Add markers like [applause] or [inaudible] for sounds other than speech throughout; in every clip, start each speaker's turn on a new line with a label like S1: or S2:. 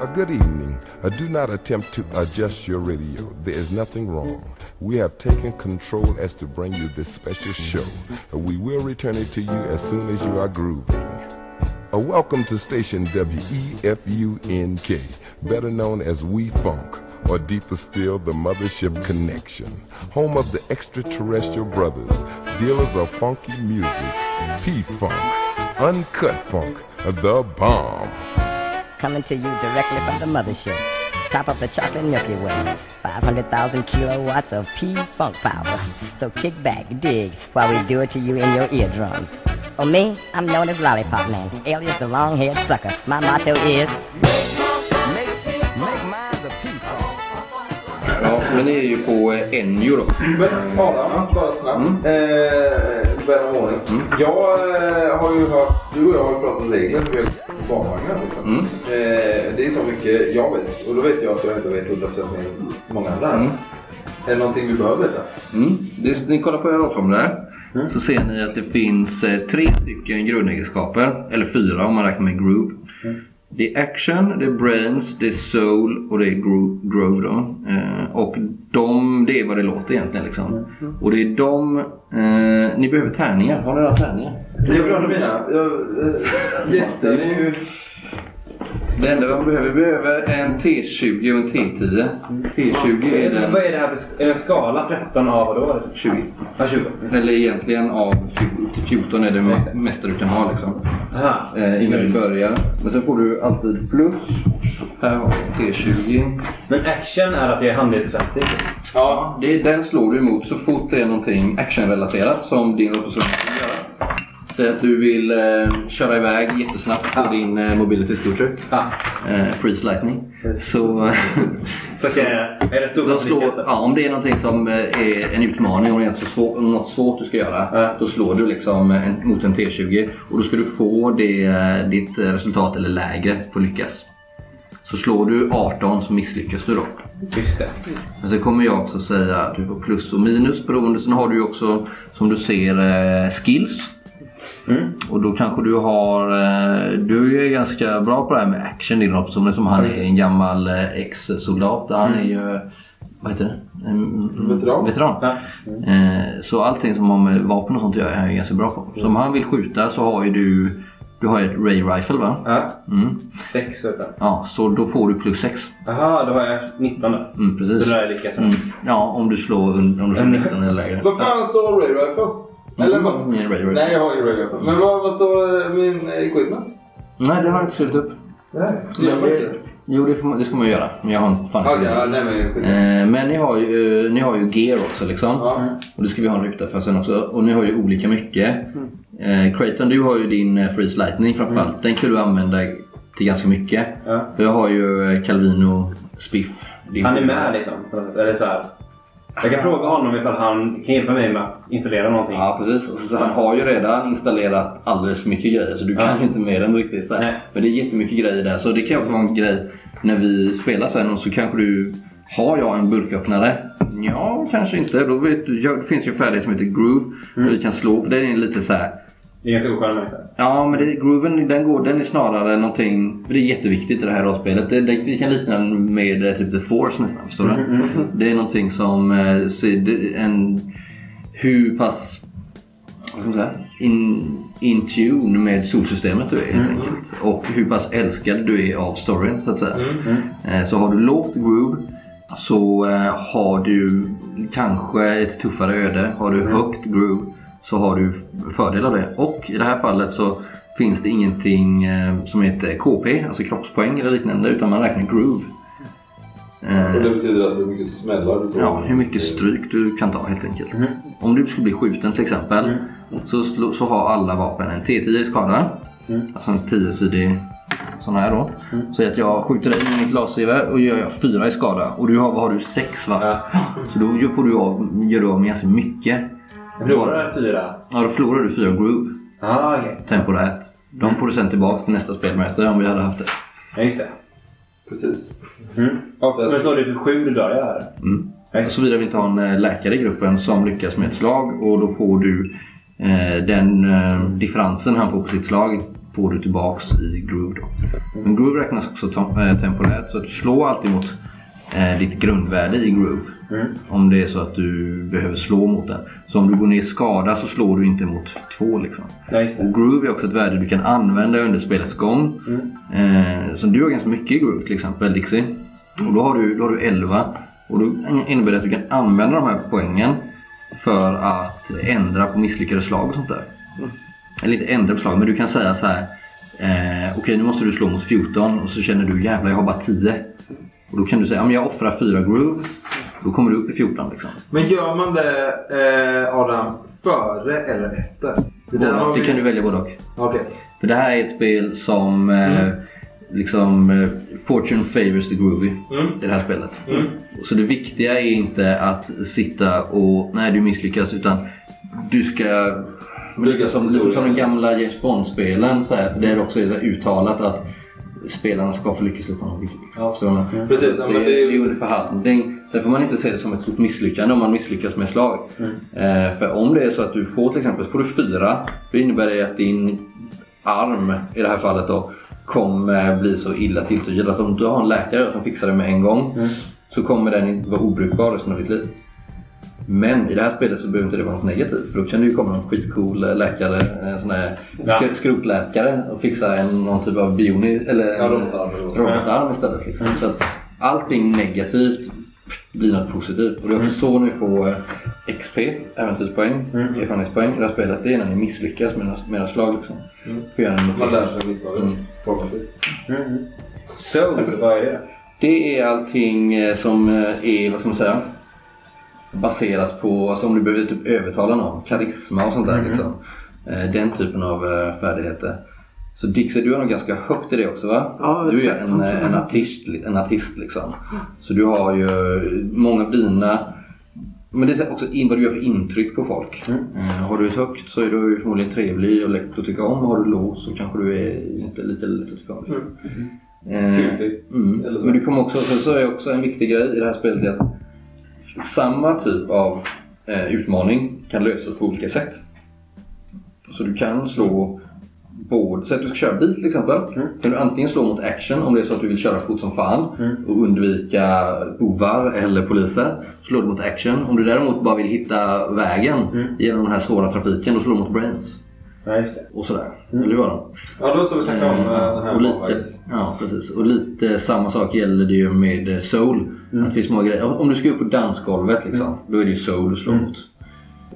S1: A good evening. Uh, do not attempt to adjust your radio. There is nothing wrong. We have taken control as to bring you this special show. Uh, we will return it to you as soon as you are grooving. Uh, welcome to station E WEFUNK, better known as We Funk, or deeper still, the Mothership Connection, home of the extraterrestrial brothers, dealers of funky music, P Funk, Uncut Funk, The Bomb.
S2: Coming to you directly from the mothership. Top of the chocolate Milky Way. 500,000 kilowatts of P Funk power. So kick back, dig, while we do it to you in your eardrums. Oh, me, I'm known as Lollipop Man, alias the long haired sucker. My motto is.
S3: Ja, men ni är ju på eh, Enjo då.
S4: Men Adam, bara snabbt. Eh, Vän av ordning. Jag eh, har ju hört, du och jag har ju pratat om regler för barnvagnar. Liksom.
S3: Mm.
S4: Eh, det är så mycket jag vet. Och då vet jag att jag inte vet 100% mer än många andra.
S3: Mm.
S4: Är det någonting vi behöver veta?
S3: Mm. Det, ni kollar på era formulär. Så ser ni att det finns eh, tre stycken grundegenskaper. Eller fyra om man räknar med groove. Det är action, det är brains, det är soul och det är gro- groove. Då. Eh, och de, det är vad det låter egentligen. Liksom. Och det är de... Eh, ni behöver tärningar. Har ni några tärningar?
S4: Jag glömde mina. Jag, eh, jätte, det är ju...
S3: Det enda man behöver, vi behöver en T20 och en T10. T20 är den...
S5: Vad är det här för sk- är det en skala? 13 av vadå?
S3: 20.
S5: Ja, 20.
S3: Eller egentligen av 14 till 14 är det me- mesta du kan ha liksom.
S5: Aha.
S3: Eh, innan
S5: Mm.
S3: du börjar. Men sen får du alltid plus. Här har vi T20.
S5: Men action är att jag är handlingskraftig.
S3: Ja, det, den slår du emot så fort det är någonting actionrelaterat som din opposition vill göra. Säg att du vill eh, köra iväg jättesnabbt på din eh, mobility scooter.
S5: Ja.
S3: Eh, freeze lightning. Så... eh,
S5: [laughs] Så kan jag... Är det stor
S3: Då slår,
S5: handlingskraft?
S3: ja, om det är någonting som eh, är en utmaning, om det är så svår, om något svårt du ska göra,
S5: Ja.
S3: då slår du liksom eh, en, mot en T20 och då ska du få det, eh, ditt eh, resultat eller lägre för att lyckas. Så slår du 18 så misslyckas du då.
S5: Just det.
S3: Men sen kommer jag också säga att du får plus och minus beroende. Sen har du ju också som du ser eh, skills.
S5: Mm.
S3: Och då kanske du har... eh, Du är ganska bra på det här med action din option som liksom han
S5: Mm.
S3: är en gammal eh, ex-soldat. Han är ju... Vad heter det? En-
S4: Veteran.
S3: veteran.
S5: Ja.
S3: Eh, Så allting som har med vapen och sånt att göra är han ju ganska bra på. Så om han vill skjuta så har ju du... Du har ju ett Ray Rifle va?
S5: Ja.
S3: Mm.
S5: Sex och fem.
S3: Ja, så då får du plus 6.
S5: Aha, då har jag 19 då.
S3: Mm,
S5: Så
S3: precis.
S5: där är lyckas.
S3: Mm. Ja, om du slår, un- om du slår 19 eller lägre.
S4: Mm. Vad fan står Ray Rifle? Eller vad?
S3: Mm, Ray Rifle.
S4: Nej, jag har ingen Ray Rifle. Men vad, vad står eh, min eh, equipment?
S3: Nej, det har jag inte skrivit upp.
S4: Nej, det gör
S3: Men
S4: jag faktiskt
S3: det,
S4: inte.
S3: jo, det, får man, det ska man ju göra. Men jag har inte fan
S4: Okej, Ah, ja, nej men skit.
S3: Eh, Men ni har, ju, eh, ni har ju gear också liksom.
S4: Ja.
S3: Och det ska vi ha en ruta för sen också. Och ni har ju olika mycket.
S4: Mm.
S3: Eh, Creighton, du har ju din eh, Freeze Lightning framförallt. Den kan du använda till ganska mycket.
S5: Ja.
S3: För jag har ju eh, Calvino Spiff. Det
S5: Han är med liksom. på något sätt. Eller så här. Jag kan fråga honom ifall han kan hjälpa mig med att installera någonting.
S3: Ja precis. Och så- Han har ju redan installerat alldeles för mycket grejer så du kan
S5: Ja.
S3: ju inte med den riktigt. Så här.
S5: Nej.
S3: Men det är jättemycket grejer där så det kan ju också vara en grej när vi spelar sen och så kanske du har jag en burköppnare? Ja, kanske inte. Då vet du, jag, det finns ju en färdighet som heter groove.
S5: Mm.
S3: Där vi kan slå. För den är lite så här.
S5: Det är ganska oskön människa.
S3: Ja, men det, grooven den, går, den är snarare någonting... för Det är jätteviktigt i det här rollspelet. Det, det, det kan likna den med eh, typ The Force nästan. Förstår du?
S5: Mm,
S3: Det är någonting som... eh, ser- det- En, hur pass... Vad ska man säga? In, in tune med solsystemet du är helt enkelt. Och hur pass älskad du är av storyn så att säga. Eh, Så har du lågt groove så eh, har du kanske ett tuffare öde. Har du högt groove så har du fördel av det. Och i det här fallet så finns det ingenting eh, som heter KP, alltså kroppspoäng eller liknande, utan man räknar groove. Eh,
S4: Och det betyder alltså hur mycket smällar du får.
S3: Ja, hur mycket stryk du kan ta helt enkelt. Om du skulle bli skjuten till exempel så, slå- så har alla vapen en T10 i skada. Alltså en 10-sidig sån här då. Så att jag skjuter dig med mitt glasgevär och gör jag fyra i skada. Och du har, vad har du? Sex va? Så då gör- får du av, gör du av med ganska mycket.
S5: Förlorar fyra.
S3: Ja, då förlorar du fyra groove
S5: Ja, okej.
S3: temporärt. De får du sen tillbaka till nästa spelmöte om vi hade haft det.
S5: Ja, just det.
S4: Precis.
S5: Mm. Men slår du för sju, då dör jag här.
S3: Mm.
S5: Nej.
S3: Såvida vi inte har en eh, läkare i gruppen som lyckas med ett slag och då får du eh, den eh, differensen han får på sitt slag får du tillbaks i groove. Då. Men groove räknas också to- eh, temporärt så att du slår alltid mot eh, ditt grundvärde i groove. Om det är så att du behöver slå mot den. Så om du går ner i skada så slår du inte mot två liksom.
S5: Ja, just det.
S3: Och groove är också ett värde du kan använda under spelets gång.
S4: Mm.
S3: Eh, så du har ganska mycket i groove till exempel, Dixie. Och då har du, då har du 11. Och då innebär det att du kan använda de här poängen för att ändra på misslyckade slag och sånt där.
S4: Mm.
S3: Eller inte ändra på slag, men du kan säga så här. Eh, Okej, nu måste du slå mot 14 och så känner du jävlar, jag har bara 10. Och då kan du säga, ja, men jag offrar 4 groove. Då kommer du upp i 14 liksom.
S4: Men gör man det eh, Adam före eller efter? Det där har
S3: Båda, det
S4: vi-
S3: kan du välja både och.
S4: Okej.
S3: För det här är ett spel som eh, liksom eh, Fortune favors the groovy i det här spelet. Så det viktiga är inte att sitta och nej du misslyckas utan du ska lite som, lite som de gamla James Bond-spelen så här, där det också är så här uttalat att spelarna ska få lyckas utan att lyckas. Så,
S4: Precis, ja,
S3: det,
S4: men
S3: det,
S4: det är ju-
S3: är ju en förhandling. Sen får man inte se det som ett stort misslyckande om man misslyckas med ett slag. Eh, för om det är så att du får till exempel, får du fyra, då innebär det att din arm i det här fallet då kommer bli så illa tilltygad att om du har en läkare som fixar det med en gång så kommer den inte vara obrukbar resten av ditt liv. Men i det här spelet så behöver inte det vara något negativt för då kan det ju komma en skitcool eh, läkare, en sån här
S5: Ja.
S3: sk- skrotläkare och fixa en, någon typ av bioni eller
S4: Ja,
S3: en
S4: robotarm eller vad det
S3: robotarm istället. Liksom. Så att allting negativt blir något positivt. Och det är
S4: Mm.
S3: också så ni får eh, XP, äventyrspoäng,
S4: Mm.
S3: erfarenhetspoäng i det här spelet. Det är när ni misslyckas med era- med era slag. Liksom. Får göra en
S4: Mm. Man
S3: notering.
S4: lär sig misstagen.
S3: Mm.
S4: Formativt.
S5: Så, vad är det?
S3: Det är allting eh, som eh, är, vad ska man säga, baserat på, alltså om du behöver typ övertala någon, karisma och sånt där. Liksom. Eh, Den typen av eh, färdigheter. Så Dixie, du har nog ganska högt i det också va?
S6: Ja,
S3: du är en, eh, en artist, en artist liksom. Så du har ju många av dina men det är också in, vad du gör för intryck på folk. Eh, har du ett högt så är du ju förmodligen trevlig och lätt att tycka om. Har du lågt så kanske du är inte lika lätt att tycka om. Eh,
S4: Kusligt.
S3: Mm.
S4: Eller så.
S3: Men du kommer också, sen så är också en viktig grej i det här spelet är att samma typ av eh, utmaning kan lösas på olika sätt. Så du kan slå både, säg att du ska köra bil till exempel.
S4: Mm.
S3: Kan du antingen slå mot action om det är så att du vill köra fort som fan
S4: Mm.
S3: och undvika bovar eller poliser. Slår du mot action. Om du däremot bara vill hitta vägen
S4: Mm.
S3: genom den här svåra trafiken då slår du mot brains.
S5: Ja, just det.
S3: Och sådär.
S4: Mm.
S3: Eller hur var det?
S4: Ja, då ska vi snacka om eh, den här
S3: Mm. och lite,
S4: barnvagns-
S3: ja, precis. Och lite samma sak gäller det ju med eh, soul.
S4: Mm.
S3: Att det finns många grejer. Om om du ska upp på dansgolvet liksom, då är det ju soul du slår
S4: Mm.
S3: mot.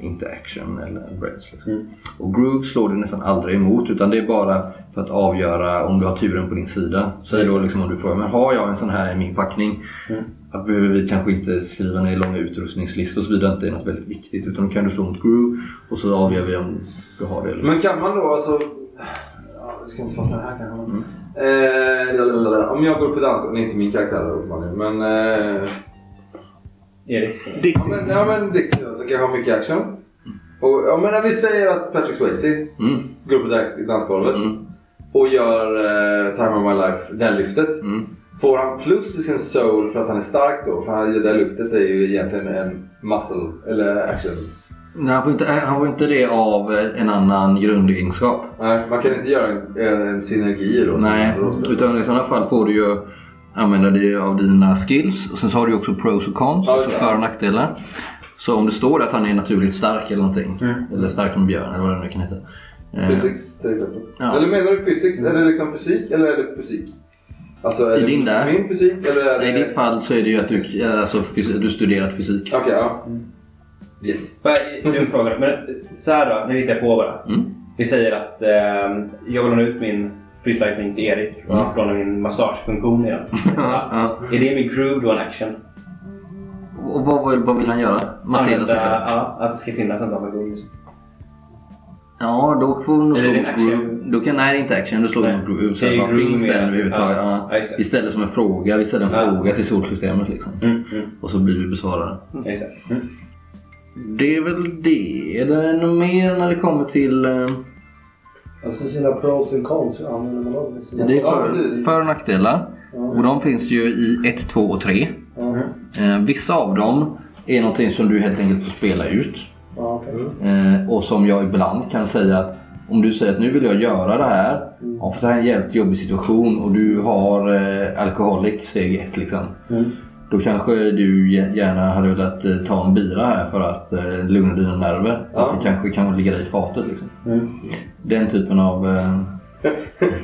S3: Inte action eller brains. Liksom. Och groove slår du nästan aldrig emot utan det är bara för att avgöra om du har turen på din sida. Säg
S4: Mm.
S3: då liksom om du frågar, men har jag en sån här i min packning? Att behöver vi kanske inte skriva ner långa utrustningslistor såvida inte är något väldigt viktigt. Utan då kan du slå mot groove och så avgör vi om du har det eller
S4: Men kan man då alltså... Ja, vi ska inte fastna här kanske. men- Eh, lalalala. om jag går upp i dansgolvet, det är inte min karaktär då, uppenbarligen, men... Eh,
S5: Erik.
S4: ja, men, ja, men Dixie då, som kanske har mycket action. Och, ja, men när vi säger att Patrick Swayze
S3: Mm.
S4: går upp i dans- dansgolvet
S3: Mm.
S4: och gör eh, Time of My Life, det här lyftet.
S3: Mm.
S4: Får han plus i sin soul för att han är stark då? För han, det där lyftet är ju egentligen en muscle, eller action.
S3: Nej, han får inte, eh, han får inte det av eh, en annan grundegenskap.
S4: Nej, man kan inte göra en, en, en synergi då.
S3: Nej, utan i sådana fall får du ju använda dig av dina skills. Och sen så har du ju också pros och cons,
S4: Ja,
S3: alltså
S4: det är
S3: för
S4: det.
S3: och nackdelar. Så om det står att han är naturligt stark eller någonting,
S4: Mm.
S3: eller stark som björn eller vad det nu kan heta. eh,
S4: Physics till exempel.
S3: Ja. Mm.
S4: Eller menar du physics? Är det liksom fysik eller är det fysik? Alltså är
S3: I
S4: det
S3: din där?
S4: min fysik eller är det...
S3: I ditt fall så är det ju att du, eh, alltså, fys- du studerat fysik.
S4: Okej, ja.
S3: Mm.
S4: [laughs] Yes.
S5: Vad är- Jag har en fråga. Men så här då, nu hittar jag på bara.
S3: Mm.
S5: Vi säger att eh, jag vill låna ut min freestyling till Erik och han ska låna min massagefunktion igen.
S3: [laughs] Ja.
S5: Är det min groove då en action?
S3: Och vad, vad, vad vill han göra? Massera sig?
S5: Använda- Ja, att det ska finnas en sån funktion.
S3: Ja, då får du nog
S5: Eller
S3: slå
S5: är det
S3: mot
S5: en
S3: groove. Då kan, nej, det är inte action. Då slår du
S5: Nej.
S3: mot groove. Så
S5: Det är
S3: bara
S5: groove
S3: finns
S5: mer.
S3: den överhuvudtaget.
S5: Ja,
S3: Ja.
S5: ja, just det.
S3: Vi ställer som en fråga. Vi ställer en
S5: Ja.
S3: fråga till solsystemet liksom.
S5: Mm, mm.
S3: Och så blir vi besvarade.
S5: Just det. Mm.
S3: Det är väl det. Är det något mer när det kommer till... eh,
S6: Alltså sina pros and cons, hur använder man dem? Liksom?
S3: Det är
S4: Ja,
S3: för,
S4: precis.
S3: för och nackdelar. Och de finns ju i 1, 2 och 3.
S6: Ja,
S3: Eh, vissa av dem är någonting som du helt enkelt får spela ut.
S7: Mm.
S6: ja, okej.
S3: Eh, och som jag ibland kan säga att Om du säger att nu vill jag göra det här.
S6: Mm.
S3: Och så här är en jävligt jobbig situation och du har eh, alkoholik steg ett liksom.
S6: Mm.
S3: Då kanske du ge- gärna hade velat eh, ta en bira här för att eh, lugna dina nerver. Att det kanske kan ligga dig i fatet liksom.
S6: Mm.
S3: Den typen av... Eh,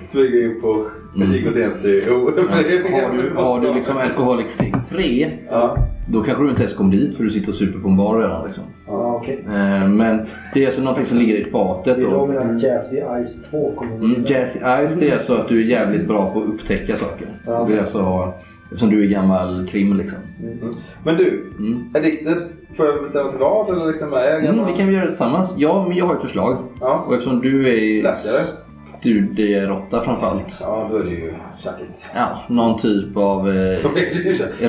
S4: Smyger in på
S3: Mm.
S4: gick och DNT. Jo,
S3: har, du, har du liksom alkoholik steg tre.
S4: Ja.
S3: Då kanske du inte ens kommer dit för du sitter och super på en bar redan. Liksom.
S6: Ja, okej.
S3: Eh, men det är alltså någonting som ligger i fatet.
S6: Det är
S3: Då.
S6: då mina Jazzy Ice 2 kommer
S3: Mm,
S6: in.
S3: jazzy eyes det är alltså att du är jävligt bra på att upptäcka saker.
S6: Ja.
S3: Det är alltså, eftersom du är gammal krim liksom.
S4: Men du,
S3: Mm.
S4: Addicted. Får jag bestämma till vad? Eller liksom är jag
S3: Mm,
S4: gammal?
S3: vi kan väl göra det tillsammans. Ja, men jag har ett förslag.
S4: Ja.
S3: Och eftersom du är
S4: Läkare?
S3: studieråtta framförallt.
S4: Ja, då är det ju tjackigt. [laughs]
S3: Ja, någon typ av eh,
S4: Då blir det ju tjackigt.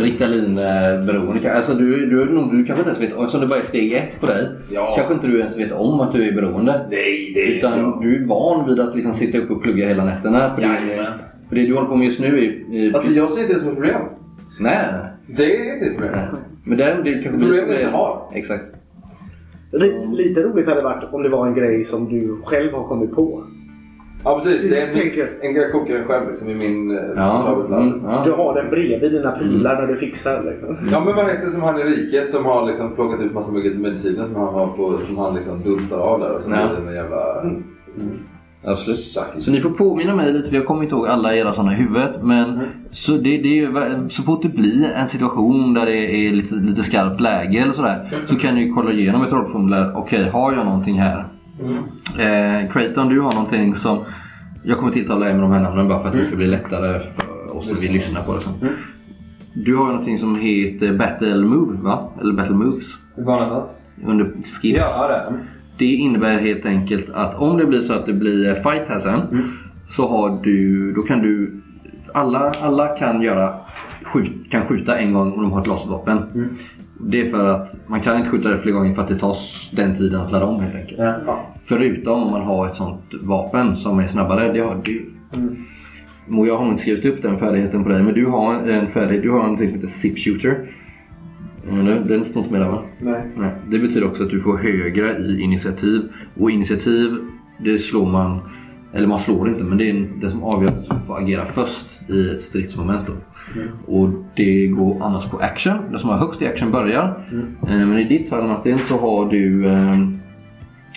S3: Ritalin-beroende. Alltså du, du, är nog- du kanske inte ens vet om, eftersom det bara är steg ett på dig.
S4: Ja.
S3: kanske inte du ens vet om att du är beroende.
S4: Nej, det är
S3: Utan
S4: bra.
S3: du är van vid att liksom sitta uppe och plugga hela nätterna. För, det,
S4: Jajamän.
S3: för det du håller på med just nu är... är
S4: Alltså jag ser inte det som ett problem.
S3: nej, nej, nej.
S4: Det är inte ett problem.
S3: Nej. Men däremot det kanske
S4: Problemet
S3: blir-
S4: jag har.
S3: Exakt.
S7: Li- Lite roligt hade det varit om det var en grej som du själv har kommit på.
S4: Ja precis, det är en mix.
S7: Tänker.
S4: En jag kokar den själv liksom i min eh,
S3: Ja.
S4: favoritland.
S3: Mm,
S7: Du
S3: ja. Mm.
S7: har den bredvid dina prylar när du fixar. Liksom.
S4: Ja men vad heter det som han i riket som har liksom plockat ut massa mycket mediciner som han har på, som han liksom dunstar av där och sen
S3: Ja.
S4: blir det en jävla...
S6: Mm.
S3: Absolut.
S4: Tjackigt.
S3: Så ni får påminna mig lite, för jag kommer inte ihåg alla era sådana i huvudet. Men
S4: Mm.
S3: så, det, det är ju, va- så fort det blir en situation där det är lite, lite skarpt läge eller sådär. Så kan ni kolla igenom ett rollformulär. Okej, har jag någonting här?
S4: Mm.
S3: Eh, Creighton, du har någonting som... Jag kommer tilltala er med de här namnen bara för att
S4: Mm.
S3: det ska bli lättare för oss när vi lyssnar på det sen. Du har ju någonting som heter Battle Move, va? Eller Battle Moves.
S5: Hur var någonstans?
S3: Under skill.
S5: Ja, det är det.
S3: Det innebär helt enkelt att om det blir så att det blir fight här sen. Så har du, då kan du, alla, alla kan göra, skjut, kan skjuta en gång om de har ett laservapen. Det är för att man kan inte skjuta det fler gånger för att det tar s- den tiden att ladda om helt enkelt.
S5: Ja.
S3: Förutom om man har ett sånt vapen som är snabbare, det har du. Och jag har nog inte skrivit upp den färdigheten på dig, men du har en färdighet, du har någonting som heter Zip Shooter. Mm, Den den står inte med där va?
S6: Nej.
S3: Nej, det betyder också att du får högre i initiativ. Och initiativ, det slår man... Eller man slår inte, men det är den som avgör vem som får agera först i ett stridsmoment. Då.
S6: Mm.
S3: Och det går annars på action. Den som har högst i action börjar.
S6: Mm.
S3: Eh, Men i ditt fall Martin så har du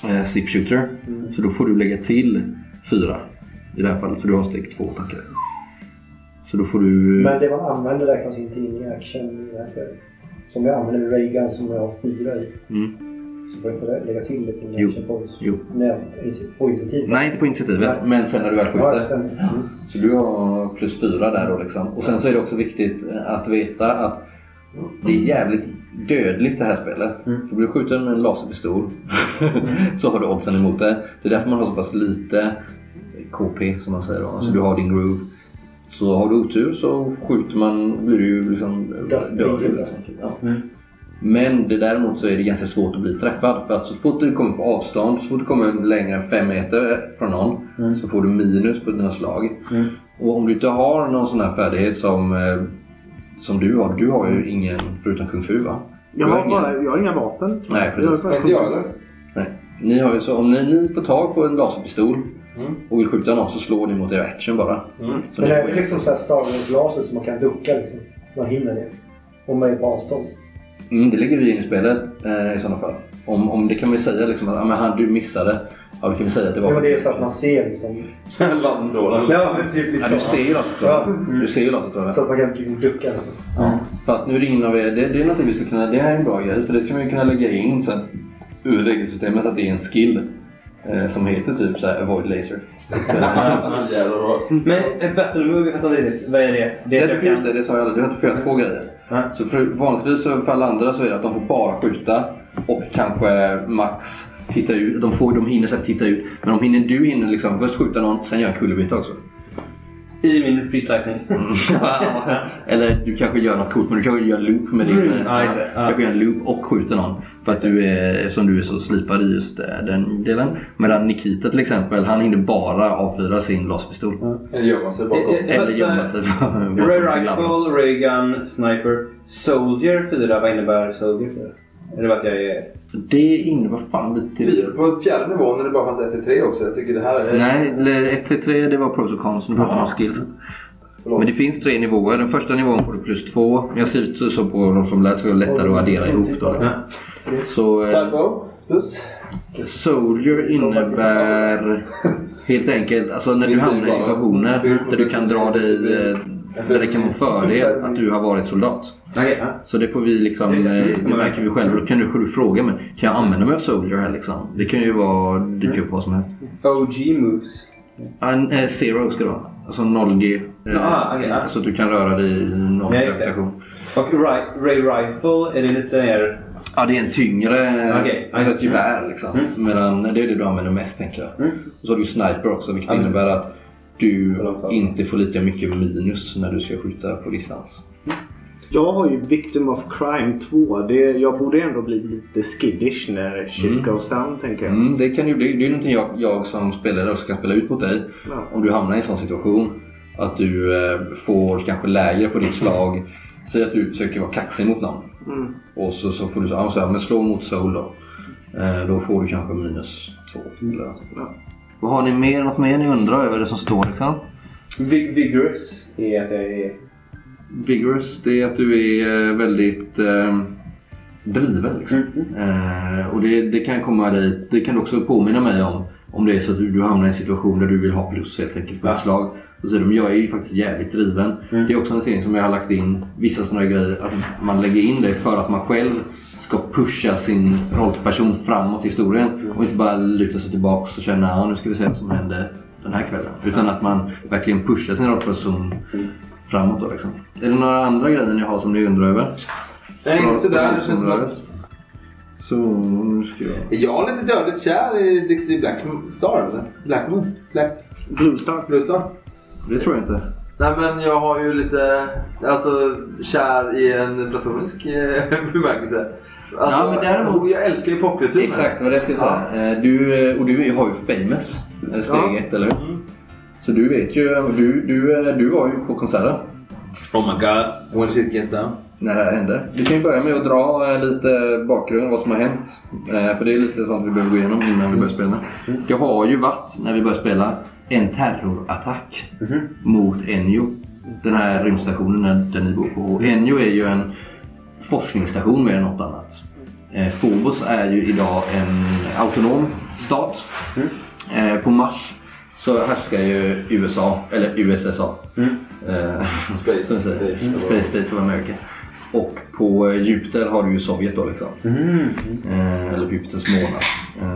S3: eh, Zip Shooter.
S6: Mm.
S3: Så då får du lägga till fyra. I det här fallet, så du har steg två. tänker jag. Så då får du...
S6: Men det man använder räknas inte in i action i det här spelet. Som jag använder Reagan som jag har fyra i.
S3: Mm.
S6: Så får jag inte lägga till lite mina
S3: Jo.
S6: action points.
S3: Jo.
S6: När jag is- på initiativ.
S3: Nej, inte på initiativet, men sen när du väl
S6: Ja,
S3: skjuter.
S6: sen- mm.
S3: Så du har plus fyra där då liksom. Och sen så är det också viktigt eh, att veta att det är jävligt dödligt det här spelet. För blir du skjuten med en laserpistol [laughs] så har du oddsen emot dig. Det är därför man har så pass lite KP som man säger då. Alltså du har din groove. Så har du otur så skjuter man, blir du ju liksom eh,
S6: Dödsdödlig.
S3: dödlig. liksom. Ja. Men det däremot så är det ganska svårt att bli träffad. För att så fort du kommer på avstånd, så fort du kommer längre än 5 meter från någon så får du minus på dina slag. Och om du inte har någon sån här färdighet som, eh, som du har. Du har ju ingen, förutom kung fu va?
S7: Jag,
S3: Du
S7: har
S3: ingen-
S7: bara, jag har inga vapen.
S3: Nej,
S7: Jag har
S3: precis.
S7: bara-
S4: Inte jag eller?
S3: Nej. Ni har ju, så om ni, ni får tag på en laserpistol
S7: Mm.
S3: och vill skjuta någon så slår ni mot er action bara. Så
S6: Men
S3: ni
S6: det
S3: får
S6: är
S3: ju-
S6: liksom så här stavningsglaset som man kan ducka liksom. Man hinner det. Om man är på avstånd.
S3: Mm, det ligger ju in i spelet eh, i sådana fall. Om, om det kan vi säga liksom att ah, men han, du missade. Ja, vi kan vi säga att det var...
S6: Jo, men det är så att man ser liksom.
S4: Lassentrålen.
S6: Ja, men typ
S3: Ja, du ser ju laserstrålen. Du ser ju laserstrålen.
S6: Så att man kan liksom ducka. Liksom.
S3: Fast nu är det ingen av er, det, det är någonting vi skulle kunna, det är en bra grej för det ska man ju kunna lägga in sen ur regelsystemet att det är en skill eh, som heter typ så här avoid laser.
S4: Jävlar vad...
S5: Men eh, battle move, jag fattar inte riktigt. Vad är det?
S3: Det,
S5: är att
S3: det,
S5: jag
S3: just
S5: kan...
S3: det, det sa jag aldrig, du har inte fått två grejer.
S5: Nej.
S3: Så för, vanligtvis så för alla andra så är det att de får bara skjuta och kanske max titta ut, de, får, de hinner sen titta ut. Men de hinner, du hinner liksom först skjuta någon, sen göra en kullerbyte också.
S5: I min freestyling.
S3: [laughs] Eller du kanske gör något coolt, men du kanske gör en loop med din...
S5: Mm, ja, just det.
S3: Du kanske gör en loop och skjuter någon. För att du är, som du är så slipad i just eh, den delen. Medan Nikita till exempel, han hinner bara avfyra sin laserpistol.
S4: Eller gömma sig bakom.
S5: Mm. Eh, eh.
S3: Eller gömma sig bakom
S5: Ray
S3: sin lampa.
S5: rifle, ray gun, sniper. Soldier 4, vad innebär soldier 4? Eller att jag är...
S3: Det innebär fan det till...
S4: Fyra- På fjärde nivån när det bara fanns 1-3 också. Jag tycker det här är...
S3: Nej, eller 1 till 3 det var pros och cons. Nu pratar jag om skills.
S4: Förlåt.
S3: Men det finns tre nivåer. Den första nivån får du plus 2. Jag ser ut så på de som lät så är det lättare att addera ihop. Då. liksom. Så eh,
S4: Typo. Plus.
S3: Soldier innebär helt enkelt alltså när du hamnar i situationer där du kan dra dig eh, där det kan vara fördel att du har varit soldat.
S5: Okej, ja.
S3: Så det får vi liksom,
S5: Just det.
S3: eh, det märker vi själva. Då kan du själv fråga men kan jag använda mig av Soldier här liksom? Det kan ju vara, dyka upp vad som helst.
S5: OG moves.
S3: En, eh, zero ska det vara. Alltså 0G. Eh,
S5: Ja, ah, okej, ja.
S3: Så att du kan röra dig i noll
S5: Ja, just det.
S3: gravitation.
S5: Och Ray, Ray Rifle, är det lite mer...
S3: Ja, det är en tyngre
S5: Okej.
S3: alltså ett gevär liksom.
S5: Mm.
S3: Medan det är det du använder mest tänker jag.
S5: Mm.
S3: Och så har du sniper också vilket
S5: Ja, men-
S3: innebär att du
S5: Förlåt, förlåt.
S3: inte får lika mycket minus när du ska skjuta på distans.
S7: Jag har ju Victim of Crime 2. Det, jag borde ändå bli lite skiddish när shit
S3: Mm.
S7: goes down tänker jag.
S3: Mm, det, kan ju, bli- det är ju någonting jag, jag som spelare också kan spela ut mot dig.
S7: Ja.
S3: Om du hamnar i en sån situation att du eh, får kanske lägre på ditt slag. Säg att du försöker vara kaxig mot någon.
S7: Mm.
S3: Och så, så får du så, ja, så här, men slå mot sol då. Eh, då får du kanske minus två. Eller något.
S7: Mm. Ja.
S3: Vad har ni mer? Något mer ni undrar över det som står liksom?
S5: Vig vigorous är att jag är...
S3: Vigorous, det är att du är eh, väldigt eh, driven. Liksom.
S5: Mm,
S3: Eh, och det, det kan komma dig, det kan du också påminna mig om. Om det är så att du, du hamnar i en situation där du vill ha plus helt enkelt på
S5: Ja.
S3: ett slag. Då säger du, men jag är ju faktiskt jävligt driven.
S5: Mm.
S3: Det är också någonting som jag har lagt in, vissa sådana grejer, att man lägger in det för att man själv ska pusha sin rollperson framåt i historien.
S5: Mm.
S3: Och inte bara luta sig tillbaka och känna, ja nu ska vi se vad som händer den här kvällen. Utan att man verkligen pushar sin rollperson
S5: Mm.
S3: framåt då liksom. Är det några andra grejer ni har som ni undrar över?
S4: Nej, inte sådär. Det känns
S3: Området.
S4: som-
S3: Så nu ska jag...
S4: Jag är lite dödligt kär i Dixie Black Star. eller? Black Moon? Black
S7: Blue Star.
S4: Blue Star?
S3: Det tror jag inte.
S4: Nej men jag har ju lite, alltså kär i en platonisk eh, [laughs] bemärkelse. Alltså,
S3: Ja, men däremot-
S4: Jag älskar ju popkultur. med.
S3: Exakt vad det ska jag säga. Eh, Du, eh, och du har ju famous eh, steg
S4: Ja.
S3: ett, eller hur? Så du vet ju, du, du, eh, du var ju på konserten
S5: Oh my god.
S4: When shit gets down.
S3: när det här hände. Vi kan ju börja med att dra eh, lite bakgrund, vad som har hänt. Eh, För det är lite sånt vi behöver gå igenom innan vi börjar spela. Det har ju varit, när vi började spela, en terrorattack mot Enjo. Den här rymdstationen där- där ni bor på. Och Enjo är ju en forskningsstation mer än något annat. Eh, Phobos är ju idag en autonom stat. Eh, På Mars så härskar ju USA, eller USSA. Eh,
S4: Space
S3: som det säger.
S4: States.
S3: Mm. Space States of America. Och på eh, Jupiter har du ju Sovjet då liksom. Eh, Eller Jupiters månad.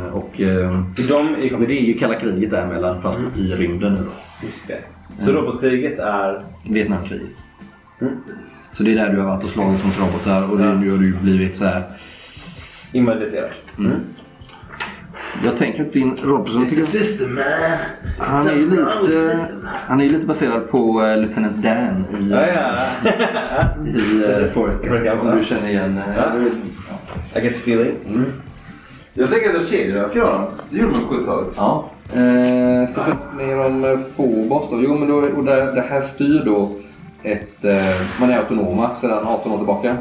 S3: Eh, Och eh,
S5: De är
S3: men det är ju kalla kriget däremellan fast i rymden nu då.
S5: Just det. Så robotkriget är...
S3: Vietnamkriget.
S5: Mm.
S3: Så det är där du har varit och slagits mot robotar och det, nu har du ju blivit så här.
S5: invalidiserat. Mm.
S3: Jag tänker att din Robinson tycker jag-
S4: System man.
S3: han är ju lite, han är ju lite baserad på eh, Lieutenant Dan i,
S5: Ja, ja.
S3: i eh, Forrest
S5: Forrest Gump,
S3: Gump. Om
S5: ja.
S3: du känner igen... eh,
S5: Ja.
S3: du-
S5: I get the feeling.
S4: Jag tänker att kedjeröker har dem. Det gjorde man på 70-talet.
S3: Ja. Eh, ska vi se mer om eh, Phobos då. Jo, men då, och det, det här styr då ett... Eh, man är autonoma sedan 18 år tillbaka.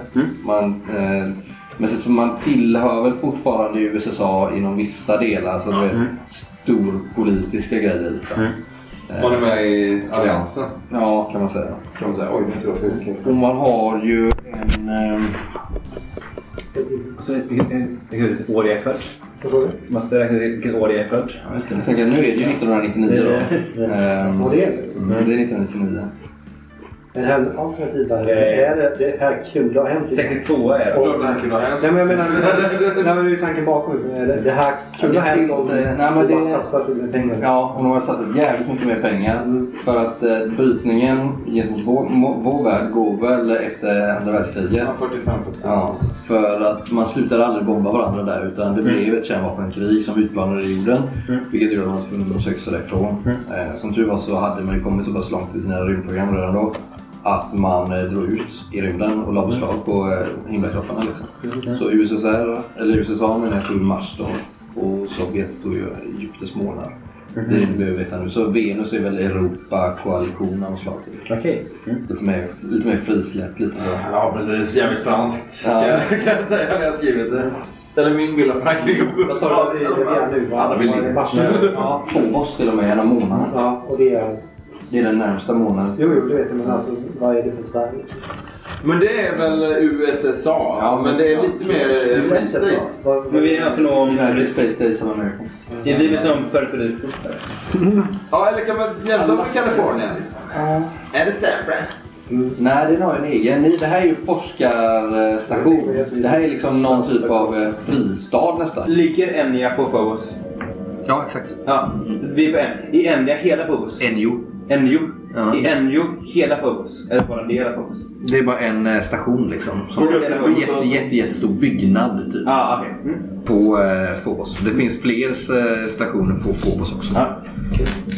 S3: Man, eh, men så, så man tillhör väl fortfarande USA inom vissa delar. Så det är storpolitiska grejer liksom.
S4: Man är med i alliansen.
S3: Ja, kan man säga.
S4: Kan man säga. Oj, nu tror jag för mycket.
S3: Och man har ju en... ehm,
S5: Och så vilket år det är född.
S6: Vad sa du?
S5: Måste räkna ut vilket år det är född.
S3: jag ska tänka, nu är det ju 1999 då. Ehm,
S6: Vad det är det?
S3: mm, det är 1999.
S6: Men här, alternativ här, det är det, det här kunde ha hänt.
S5: 62 är det.
S4: Klart det här kunde ha hänt.
S6: Nej men jag menar, [laughs] nej, men det är tanken bakom. Så är det, det här kunde
S3: Ja,
S6: ha
S3: det
S6: hänt
S3: finns,
S6: om
S3: eh, nej, men
S6: du bara
S3: det-
S6: satsat lite pengar.
S3: Ja, och de har satsat jävligt mycket mer pengar. För att eh, brytningen gentemot vår, må- vår värld går väl efter andra världskriget.
S4: 45
S3: Ja, för att man slutade aldrig bomba varandra där utan det blev ett kärnvapenkrig som utmanade jorden. Vilket gjorde att man kunde de söka sig därifrån. Eh, som tur var så hade man ju kommit så pass långt i sina rymdprogram redan då att man eh, drog ut i rymden och la beslag på eh, himlakropparna. Liksom. Så USSR, eller USSA menar jag tog Mars då och Sovjet tog ju Egyptens månad. Det är det du behöver veta nu. Så Venus är väl Europa-koalition av något slag. typ.
S5: Okej.
S3: Lite mer, lite mer frisläppt, lite så.
S4: Ja, precis. Jävligt franskt
S3: Ja.
S4: kan, jag- [laughs] kan jag säga när jag skrivit det. Eller min bild av Frankrike.
S6: Vad sa du? Det är redan nu va?
S3: Alla vill ligga.
S6: Varsågod.
S3: Ja, Phobos till och med, en av månaderna.
S6: Ja, och det är...
S3: Det är den närmsta månaden.
S6: Jo, jo, det vet jag. Men alltså, vad är det för Sverige?
S4: Men det är väl USSA?
S3: Ja,
S4: men det är lite mer eh,
S6: USA.
S4: fristigt.
S6: Vad-
S5: Men vi är alltså någon...
S3: United Space Days of America.
S5: Det är vi som periferi.
S4: Ja, eller kan man jämföra med Kalifornien? Är det sämre?
S3: Nej, den har en egen. Ni- Det här är ju forskarstation. Det här är liksom någon typ av eh, fristad nästan.
S5: Ligger Enya på Phobos?
S3: Ja, exakt.
S5: Ja. Vi är på en. I Enya hela Phobos?
S3: Enjo.
S5: Enjo.
S3: Ja.
S5: I Enjo hela Phobos? Eller bara delar Phobos?
S3: Det är bara en eh, station liksom. Som
S5: Går det upp
S3: det
S5: en
S3: var en
S5: stor
S3: jätte,
S5: station?
S3: jätte, jättestor byggnad typ,
S5: Ja, okej. Mm.
S3: på eh, Phobos. Det finns fler eh, stationer på Phobos också.
S5: Ja.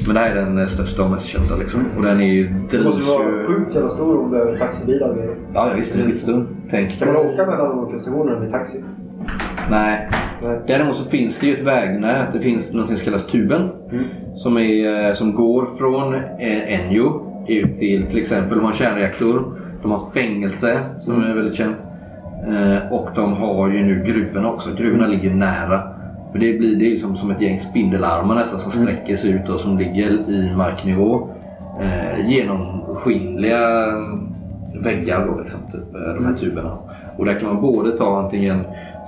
S3: Men det här är den eh, största och mest kända liksom. Och den är ju...
S6: Det måste ju
S3: drivs
S6: vara
S3: ju...
S6: sjukt jävla stor om du behöver taxibilar och grejer.
S3: Ja, ja, visst. Det är skitstum. Tänk.
S6: Kan man åka mellan de olika stationerna med taxi?
S3: Nej.
S6: Nej.
S3: Däremot så finns det ju ett vägnät. Det finns något som kallas Tuben. Som, är, eh, som går från eh, Enjo ut till till exempel, de har en kärnreaktor. De har ett fängelse som är väldigt känt. Eh, och de har ju nu gruvorna också. Gruvorna ligger nära. För det blir det är liksom som ett gäng spindelarmar nästan som sträcker sig ut och som ligger i marknivå. Eh, genomskinliga väggar då liksom, typ, eh, de här tuberna. Och där kan man både ta antingen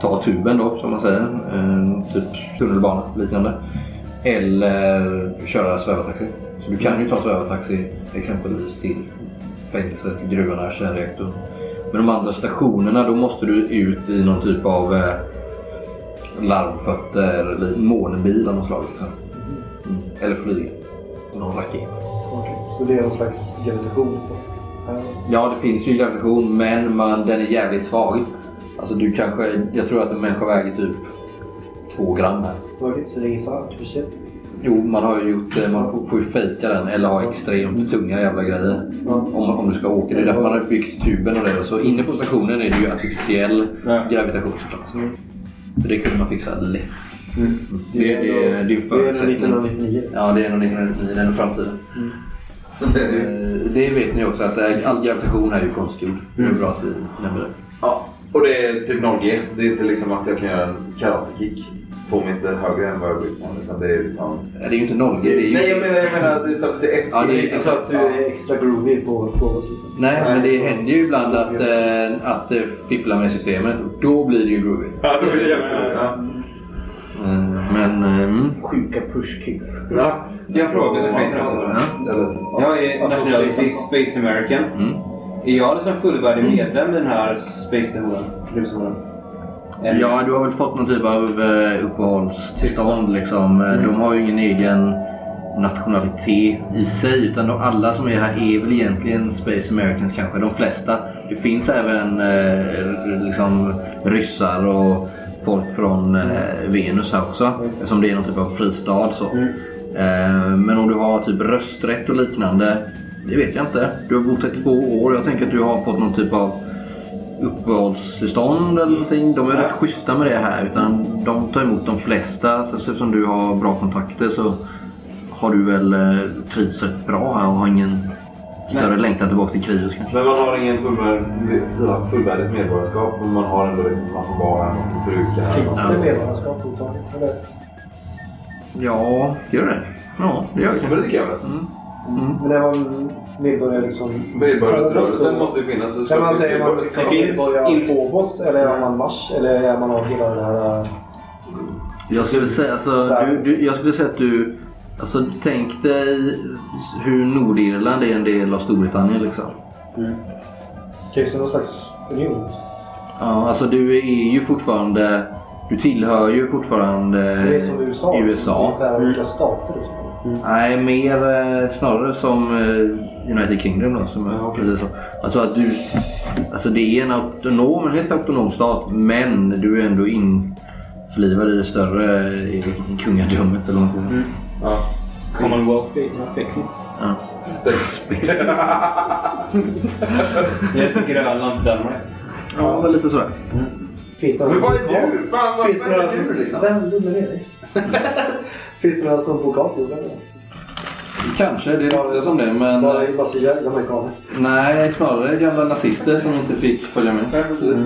S3: ta tuben då som man säger, eh, typ tunnelbana liknande. Eller köra svävartaxi. Så du kan ju ta svävartaxi exempelvis till fängelset, gruvorna, kärnreaktorn. Men de andra stationerna då måste du ut i någon typ av eh, larmfötter eller månbil av något slag. Liksom. Mm. Eller flyg. Någon raket.
S6: Okej. Så det är någon slags gravitation? Så. Ja.
S3: Ja, det finns ju gravitation, men man, den är jävligt svag. Alltså du kanske, jag tror att en människa väger typ två gram här.
S6: Okej, så typ det är inget artificiellt?
S3: Jo, man har ju gjort, eh, man får- får ju fejka den eller ha extremt tunga jävla grejer.
S6: Ja.
S3: Om, om du ska åka. Det är därför man har byggt tuben och det. Så inne på stationen är det ju artificiell
S5: Ja.
S3: gravitationsplats. Det kunde man fixa lätt. Det, det, det, är ju en
S6: Det är nog
S3: förutsättning.
S6: 1999.
S3: Ja, det är nog 1999, den är framtiden.
S4: Mm. Så är det ju.
S3: Eh, Det vet ni också att eh, all gravitation är ju konstgjord. Det
S4: Mm.
S3: är bra att vi nämner det.
S4: Ja, och det är typ 0G. Det är inte liksom att jag kan göra en karatekick. Får mig inte högre än vad jag vill. Utan det är liksom...
S3: Det är ju inte 0G. Det är ju...
S4: Nej, jag menar, jag menar att det är till 1G.
S3: Ja, det är-
S4: så att
S6: Du
S4: du...
S6: är extra groovy på frågor.
S3: Nej, men det händer ju ibland att, eh, att eh, fippla med systemet och då blir det ju groovigt.
S4: Ja, då vill jag ja.
S3: Eh, Men... eh, Mm.
S7: Sjuka pushkicks.
S4: Ja.
S5: Jag frågade mig.
S3: Ja.
S5: Jag är nationalistisk Space American.
S3: Mm.
S5: Är jag liksom fullvärdig medlem i den här Space Stationen? Gruvstationen? Eller-
S3: Eh, Ja, du har väl fått någon typ av eh, uppehållstillstånd liksom. Eh, De har ju ingen egen nationalitet i sig utan de, alla som är här är väl egentligen Space Americans kanske. De flesta. Det finns även eh, r- liksom ryssar och folk från eh, Venus här också eftersom det är någon typ av fristad så. Eh, men om du har typ rösträtt och liknande det vet jag inte. Du har bott här två år. Jag tänker att du har fått någon typ av uppehållstillstånd eller någonting. De är rätt schyssta med det här. Utan de tar emot de flesta. Så eftersom du har bra kontakter så har du väl eh, trivts rätt bra här och har ingen större längtan tillbaka till kriget kanske.
S4: Men man har ingen fullvärd, ja, fullvärdigt medborgarskap. Men man har ändå liksom, man får vara här, man får bruka
S6: Finns
S4: här.
S6: det medborgarskap fortfarande? Eller?
S3: Ja, gör det? Ja, det gör det
S4: Men
S3: kanske.
S4: det tycker jag väl.
S6: Men när man medborgare liksom...
S4: Medborgarrättsrörelsen måste ju finnas. så
S6: När
S4: ska
S6: man
S4: det-
S6: säger man liksom
S4: medborgarskap.
S6: medborgare av
S5: In-
S6: Phobos eller är man Mars eller är man av hela den här... äh,
S3: Jag skulle säga, alltså, du, du, jag skulle säga att du... Alltså, tänk dig hur Nordirland är en del av Storbritannien liksom.
S6: Krävs det någon slags union?
S3: Ja, alltså du är ju fortfarande... Du tillhör ju fortfarande
S6: Det är som USA. liksom. Det är så
S3: Eh, USA.
S6: här olika stater liksom.
S3: Nej, mer eh, snarare som eh, United Kingdom då. Som, ja, precis så. Alltså att du... Alltså det är en autonom, en helt autonom stat. Men du är ändå införlivad i det större eh, kungadömet eller någonting.
S4: Ja.
S5: Commonwealth.
S3: Ja.
S5: Jag är från Grönland, inte Danmark.
S3: ja, men lite sådär.
S6: Finns det
S4: Men
S6: någon
S4: vad är djur? Fan, vad
S6: Finns det
S4: vad
S6: några
S4: är djur liksom?
S6: Vem är det? Finns det några som bor kvar på jorden?
S3: Kanske, det låter som det. Men
S6: Bara i Brasilia eller amerikaner?
S3: nej, snarare gamla nazister som inte fick följa med. Mm.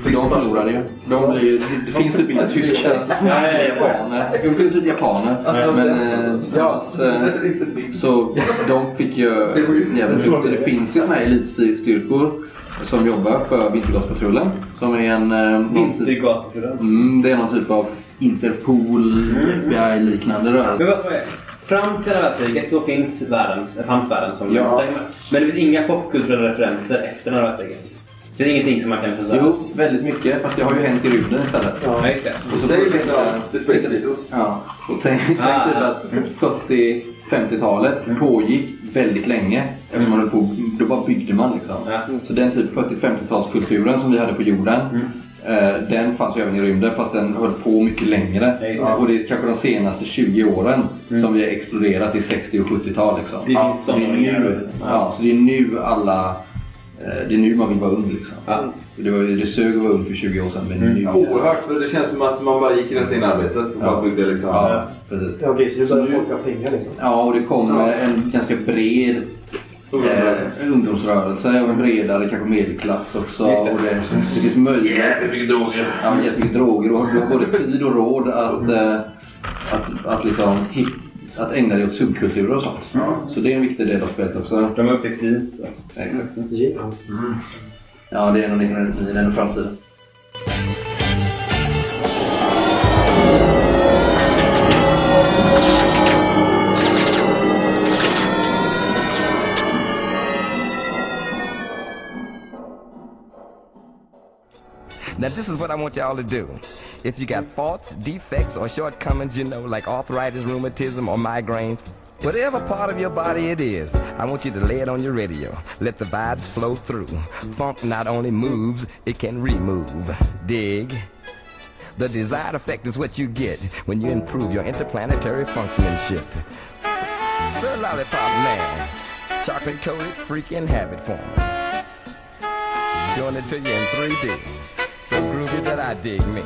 S3: För de förlorade ju. De blir, ju- det finns typ inga tyskar. Nej, japaner. Jo, det finns lite japaner. Men eh,
S4: Ja.
S3: annars, eh, så de fick ju jävligt mycket. Det finns ju såna här elitstyrkor som jobbar för Vintergatspatrullen. Som är en... eh, någon typ-
S5: Vintergatan.
S3: Mm, det är någon typ av Interpol, FBI-liknande rörelse.
S5: Men vad tror jag? Fram till det här kriget då finns världen, eh, fanns världen som
S3: Ja.
S5: Men det finns inga popkulturella referenser efter det här kriget. Det är ingenting som man kan säga.
S3: Jo, väldigt mycket. Fast det har ju hänt i rymden istället.
S5: Ja, just det.
S3: Och så-
S4: Säg lite om The Space Beatles.
S3: Ja, och tänk, tänk
S5: Ah.
S3: typ att 40-50-talet pågick väldigt länge. Eftersom man höll på, då bara byggde man liksom.
S5: Ja.
S3: Så den typ 40-50-talskulturen som vi hade på jorden.
S5: Mm.
S3: Eh, den fanns ju även i rymden fast den höll på mycket längre.
S5: Ja, just det. Mm.
S3: och det är kanske de senaste 20 åren som vi har exploderat i 60 och 70-tal. Liksom.
S5: Det är
S3: ja,
S5: som
S3: det är
S5: de
S3: nu,
S5: gör.
S3: ja, så det är nu alla... eh, Det är nu man vill vara ung liksom.
S5: Ja. Mm.
S3: Det, var, det sög att vara ung för 20 år sedan men nu...
S4: Oerhört, för det känns som att man bara gick rätt in i arbetet och
S3: Ja.
S4: bara byggde liksom.
S3: Ja, precis.
S6: Ja, precis. Nu börjar folk ha pengar liksom.
S3: Ja, och det kommer en ganska bred eh, ungdomsrörelse och en bredare kanske medelklass också.
S5: Just det.
S3: Och det, det finns möjlighet.
S4: Jättemycket droger.
S3: Ja, jättemycket droger och du har både tid och råd att, eh, att, att, liksom, hit, att ägna dig åt subkulturer och sånt. Så det är en viktig del av spelet också.
S5: De har upptäckt is.
S3: Exakt.
S6: Ja.
S5: Mm.
S3: Ja, det är nog 1999, det är nog framtiden.
S8: Now, this is what I want y'all to do. If you got faults, defects, or shortcomings, you know, like arthritis, rheumatism, or migraines, whatever part of your body it is, I want you to lay it on your radio. Let the vibes flow through. Funk not only moves, it can remove. Dig. The desired effect is what you get when you improve your interplanetary functionship. Sir Lollipop Man, chocolate coated freaking habit form doing it to you in 3D. So groovy that I dig me.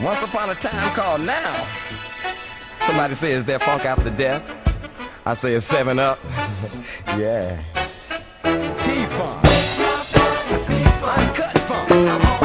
S8: Once upon a time called now. Somebody says they're funk after death. I say it's seven up. yeah. P funk. Uncut funk. I'm on